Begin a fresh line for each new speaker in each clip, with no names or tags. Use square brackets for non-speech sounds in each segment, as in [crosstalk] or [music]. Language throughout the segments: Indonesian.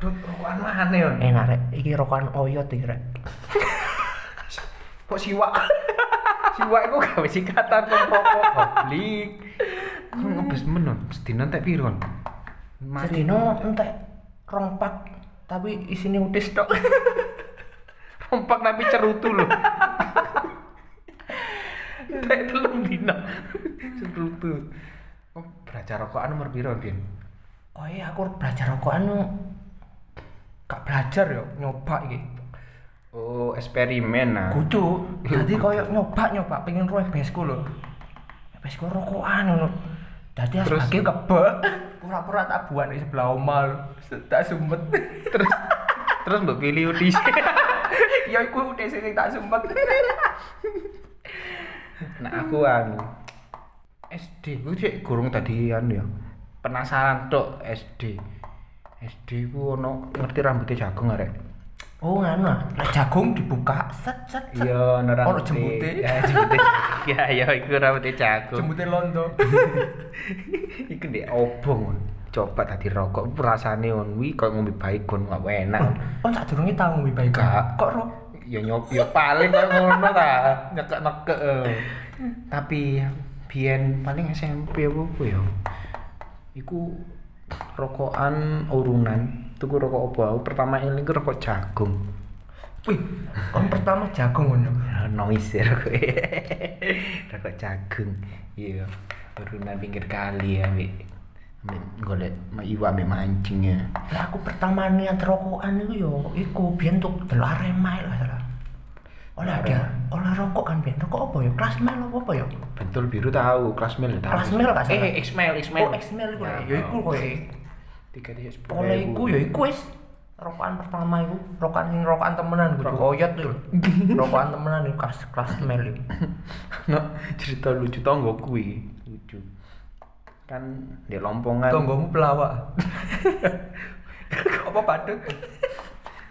rokokan mana ya?
Enak Eh, rek, iki rokokan oyot iki rek.
Kok siwak? [laughs] siwak iku gawe sikatan kok rokok publik. Kok ngebes men non? Sedina entek piro kon?
Sedino entek rong pak tapi isine utis
[laughs]
tok.
rompak tapi cerutu lho. Entek telung dina. [laughs]
Nah.
Cerutu. Kok belajar rokokan nomor piro, Bin?
Oh iya aku belajar rokokan yo. Gak belajar yo nyoba iki.
Oh, eksperimen nah.
Kudu. Dadi koyo nyoba nyoba pengen roh besku lho. Besku rokokan ngono. Dadi
Terus?
asbake kebek. Pura-pura tak buat di sebelah oma lho. Tak sumpet.
terus terus mbok pilih udis.
[laughs] ya iku utis sing tak
[laughs]
sumpet.
nah aku anu SD ku cek gurung tadi anu ya penasaran tok SD SD ku ono ngerti rambutnya jagung arek
Oh nganu ah, Lah jagung dibuka set set set.
iya ono
Ono
rambutnya [laughs]
jembute.
ya jembute ya ya iku rambutnya jagung
Jembute [laughs] londo.
iku ndek obong coba tadi rokok rasane on wi kok ngombe baik kon gak enak
Oh tak durunge tau ngombe baik.
Gak.
Kok ro?
ya nyop ya paling kok ngono ta nyekek nekek tapi biyen paling SMP apa ku ya iku rokokan urunan tuku rokok apa aku pertama ini ku rokok jagung
Wih, kon pertama jagung ngono.
Ya, noise ya rokok [laughs] rokok jagung iya urunan pinggir kali ya Mbak golek iwak mbek mancing ya
Lah aku pertama niat rokokan iku yo iku biyen tuk delok Arema lho salah. Olah
Arema.
dia, olah rokok kan biyen rokok apa ya? Kelas mel apa apa ya?
bentul biru tahu kelas mel tahu
Kelas mel gak salah?
eh Ismail Ismail
Oh, X-Mel iku lho.
Ya,
ya iku koyo
tiga tiga sepuluh
oleh iku ya iku wis rokokan pertama iku rokokan sing rokokan temenan gitu koyot [laughs] iku lho. rokokan temenan iku kelas kelas mel iku
[laughs] no, cerita lucu tonggo kuwi lucu kan di lompongan
tonggomu pelawak [laughs] apa padut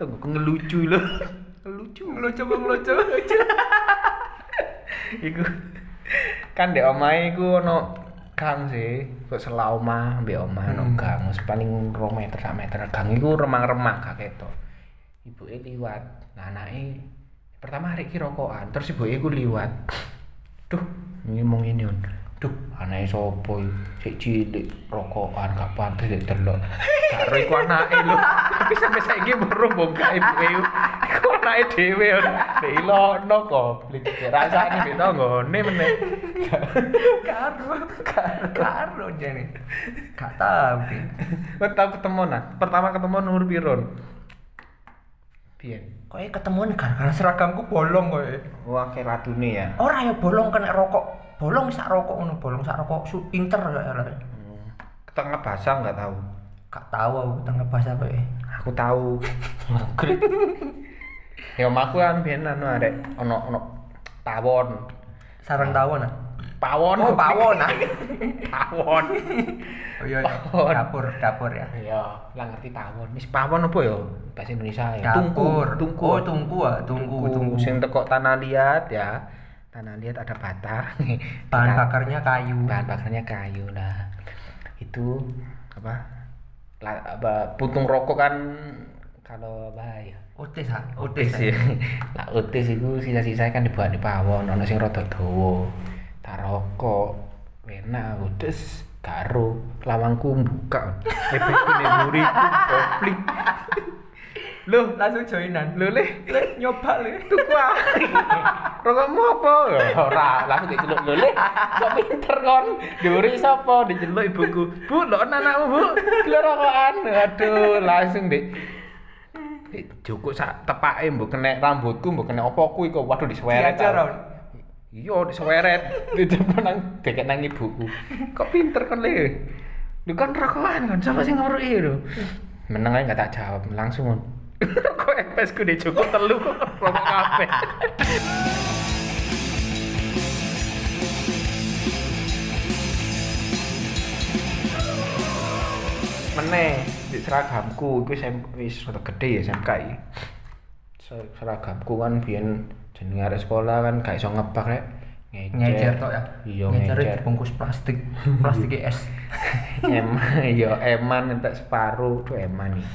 tonggo ngelucu lho [laughs] lucu
ngelucu ngelucu
[laughs] iku kan di omahe iku ono gang sih kok selau omah mbek omah ono
Hmm.
gang wis paling 2 meter sak meter gang iku remang-remang kakek to ibuke liwat nah anake pertama hari iki rokokan terus ibuke iku liwat duh ini mau ngene on duh anake sopo iki sik cilik rokokan gak pantes sik delok karo iku anake lho tapi sampe saiki baru bongkar ibuke iku. iku anake dhewe on dilokno goblok rasane mbek tanggone meneh
karo karo karo jane gak tau deh
Kau tau ketemu nah? Pertama ketemu nomor piron. Pian.
kowe ketemuan gara-gara seragamku bolong kowe
Wah kayak ratune ya.
ora ya bolong kena rokok bolong sak rokok ngono bolong sak rokok su pinter gak ora
Hmm. Ketengah basah nggak tahu.
gak tau aku tengah bahasa kowe
Aku [laughs] tahu. Maghrib. ya omahku kan biyen anu arek ono ono tawon.
sarang tawon ah
Pawon.
oh
goblok.
pawon ah
Pawon.
[laughs] oh iya
Pawon.
dapur dapur ya
Ya, lah ngerti tawon. Wis pawon apa ya? Bahasa Indonesia ya.
dapur
tungku.
oh tungku ah tungku tungku
Sing tekok tanah liat ya. Tanah liat ada batang.
[laughs] bahan
Kita-
bakarnya kayu
bahan bakarnya kayu lah itu apa la- apa puntung rokok kan kalau bahaya
utis ah
utis ya [laughs] lah utis itu sisa-sisa kan dibuat di pawon ono sing rada dawa tak rokok enak utis karo lawangku buka efekku ning muriku koplik lho
langsung joinan
lho leh
Le, nyoba le
tuku [laughs] ae. Rokokmu apa? Ora, lah aku diceluk lho. Kok pinter kon? Diuri sapa? Diceluk ibuku. Bu, lho anakmu, Bu. Gila rokokan. Aduh, langsung Dik. Dik, Cukup sak tepake mbok kena rambutku, mbok kena opo kuwi kok waduh disweret.
diajar
tau.
Ron.
Iya, [laughs] disweret. Dijemput nang deket nang ibuku. Kok pinter kon le? Lu kan rokokan kan, siapa sih ngawruki lho? Meneng ae gak tak jawab, [laughs] langsung kon. Rokok empesku deh cukup telu kok rokok kabeh. Meneh di seragamku iku SMP wis rada gede ya SMK iki. Ser- Seragamku kan biyen jenenge arek sekolah kan gak iso ngebak rek.
ngecer tok ya
Iya,
ngecer
ngecer.
dibungkus plastik plastik es
[laughs] eman yo eman entek separuh tuh eman nih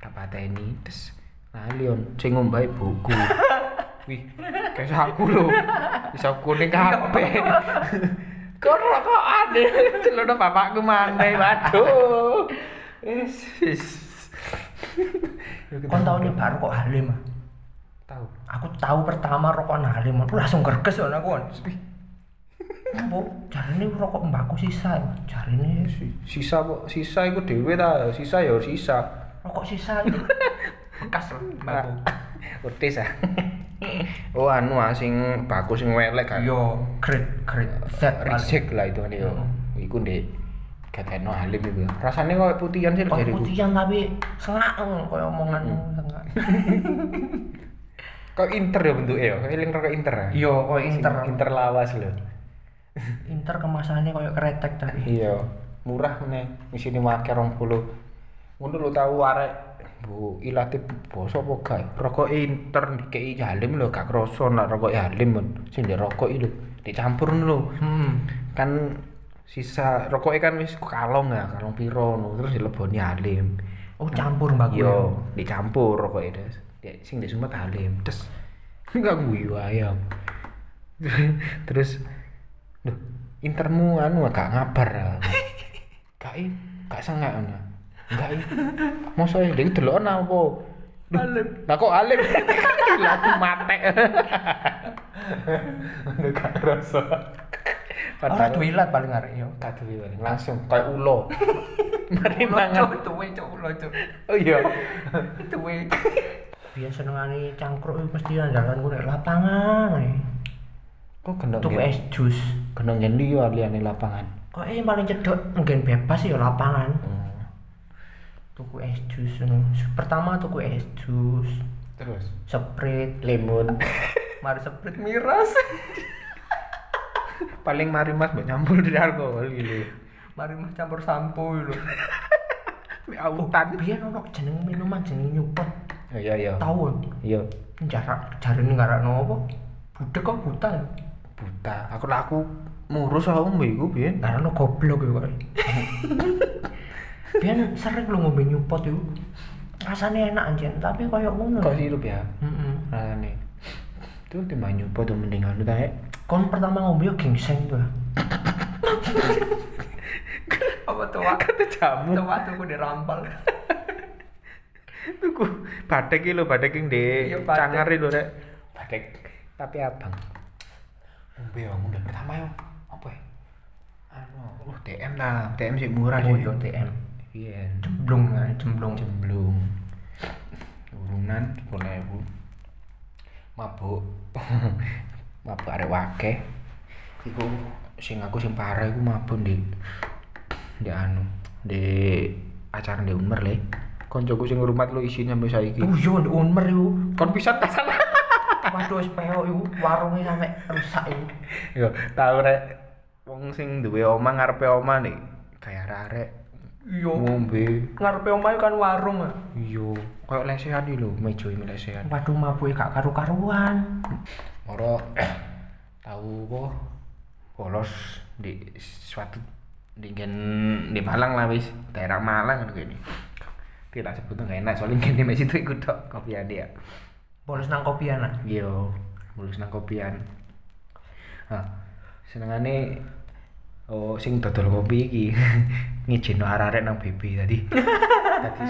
tak pateni terus lalion sing ngombahi buku wih kayak aku lho bisa kuning kabeh [laughs] kok rokokan [laughs] ya celana bapakku mandai waduh wis wis
kon tau nyoba rokok halim ah?
tahu
aku tahu pertama rokokan halim aku langsung gerges kan aku kan apa jarine rokok mbakku sisa jarine
sisa kok sisa iku dhewe ta sisa ya sisa
rokok sisa itu bekas loh
[laughs]
mbakku
Urtis ah. [laughs] oh anu ah sing bagus sing welek kan.
yo great great set
Reject lah itu kan yo. Iku ndek kateno halim iku. Rasane koyo Oh, putihan sih
Kau
dari Hmm. iku.
putihan tapi sengak kau omongan sengak.
Kok inter ya bentuke yo. Eling rokok inter. ah.
Yo kau
Sing
inter
Inter lawas lho.
inter kemasannya kau keretek tapi.
Iya. Murah meneh. Isine wae 20. Ngono lho tau arek Bu, ilate basa apa gawe? Rokok inter dikei halim lho gak krasa nek rokok halim men. Sing ndek rokok iki lho dicampur lho.
Hmm.
kan sisa rokoknya kan wis kalong ya kalong piro no. terus dileboni halim
Oh campur mbak
yo dicampur rokoknya des Di- sing di Sumet halim des [laughs] enggak guyu ayam [laughs] terus duh intermu anu gak ngabar ya. [laughs] gak i gak sengak ana gak i mosok e dhewe deloken apa Duh,
Halim.
lah kok alim [laughs] lah aku [laughs] mate Ngono gak kerasa
Orang
padahal
duilat paling arek yo.
Tak duwe bareng, langsung kayak [laughs] ulo. Mari mangan.
tuwe cok lo cok.
Oh iya.
Tuwe. Biasa senengane cangkruk itu mesti andalan gue nek lapangan. eh.
Kok gendong
Tuku
gen-
es jus.
gendong yen liya liyane lapangan.
Kok eh paling cedok nggen bebas ya lapangan.
Hmm.
Tuku es jus ngono. Pertama tuku es jus,
Terus
Sprite,
limun.
mari Sprite miras.
[laughs] Paling mari Mas mbok nyampur di alkohol gitu.
mari mah campur sampo lho.
Mbok autan.
Oh, Biyen ono jeneng minuman jeneng nyupet.
Oh iya iya.
Tahu
Iya.
jarak jarine ngarakno apa? Budek kok buta. ya?
Buta. Aku lah aku ngurus aku mbek iku biyen.
Karena goblok ya [laughs] kok. Biar sering lu ngombe nyupot itu. Rasanya enak anjir, tapi koyo ngono.
Kok sirup ya
Heeh.
rasane. Tuh timbang nyoba tuh mending anu tae.
Kon pertama ngombe yo gingseng tuh. Apa tuh?
Kata jamu.
Tuh aku dirampal.
Tuku badek iki lho badek ing ndek
Iya, badek.
cangar iki lho rek. Badek tapi abang. Ngombe ya ngombe pertama yo. Apa ya? Anu, oh DM lah, DM sih murah
Oh
sih.
yo TM.
Iya,
Jemblung ya, jemblung.
jemblung. Urunan 10.000. Mabuk. [laughs] mabuk arek wakeh. Iku sing aku sing parah iku mabuk ndek ndek anu, ndek acara ndek Umer le. Koncoku sing ngrumat lu isine sampe saiki.
Oh yo di Unmer yo.
kon pisan kasan
Waduh wis peok yo, warunge sampe rusak yo.
[laughs] yo tau rek wong sing duwe oma ngarepe oma nih kayak arek
Yo
ngombe
ngarepe omahe kan warung. ah.
iya koyo lesehan iki lho meja iki lesehan
Waduh mabuke gak karu-karuan.
ora [clears throat] tau apa bolos di suatu di gen di Malang lah wis daerah Malang gitu ini tidak sebut nggak enak soalnya gen di situ ikut tok kopi dia
Bolos nang kopi anak.
Yo, mulus nang kopian. Nah, senengane oh sing dodol kopi iki [laughs] ngijino arek-arek nang BB tadi. Tadi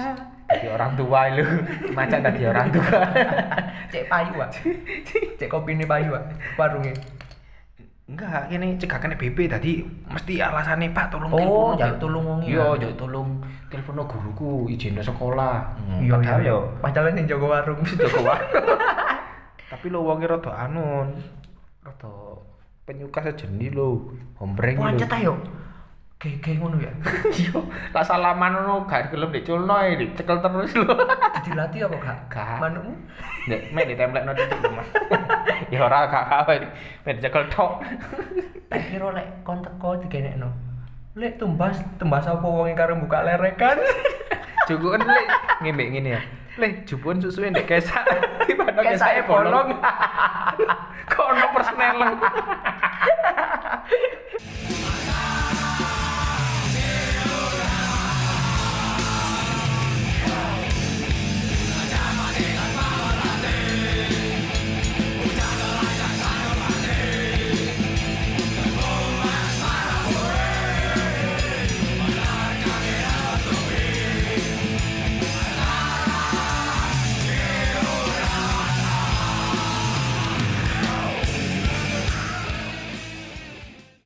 tadi orang tua lu, macan tadi orang tua. [laughs]
cek payu ah cek kopi ini payu ah warungnya
Enggak, ini cegakane BB tadi mesti alasane Pak tolong
Oh,
telepono,
jaluk
Pak."
tulung wong iki,
Yo,
ya.
jaluk tolong telepono guruku izin sekolah. Hmm,
iya
padahal
iya
yo
padahal yang jago warung
[laughs]
[laughs]
Jokowi. Tapi lo wonge rada anun. Rada penyuka sejenis lo, hombreng
pancet
lo.
ah yo gege ngono [laughs] ya
[laughs] Yo, tak salaman ngono gak gelem diculno ya, dicekel terus lo.
dilatih apa gak
Gak.
manukmu
[laughs] Nek mek ditemplekno titik lho, Mas. [laughs] Ya ora gak kawe, mek dicekel tok.
tak kira lek kon teko digenekno lek tumbas tumbas apa wong karo buka [laughs] lerekan
Jukuken kan, lek ngembek ngene ya. Lek jupuan susuwe
ya
ndek kesak, [laughs] tiba-tiba kesake
Kesake
bolong. Kok ono persneleng.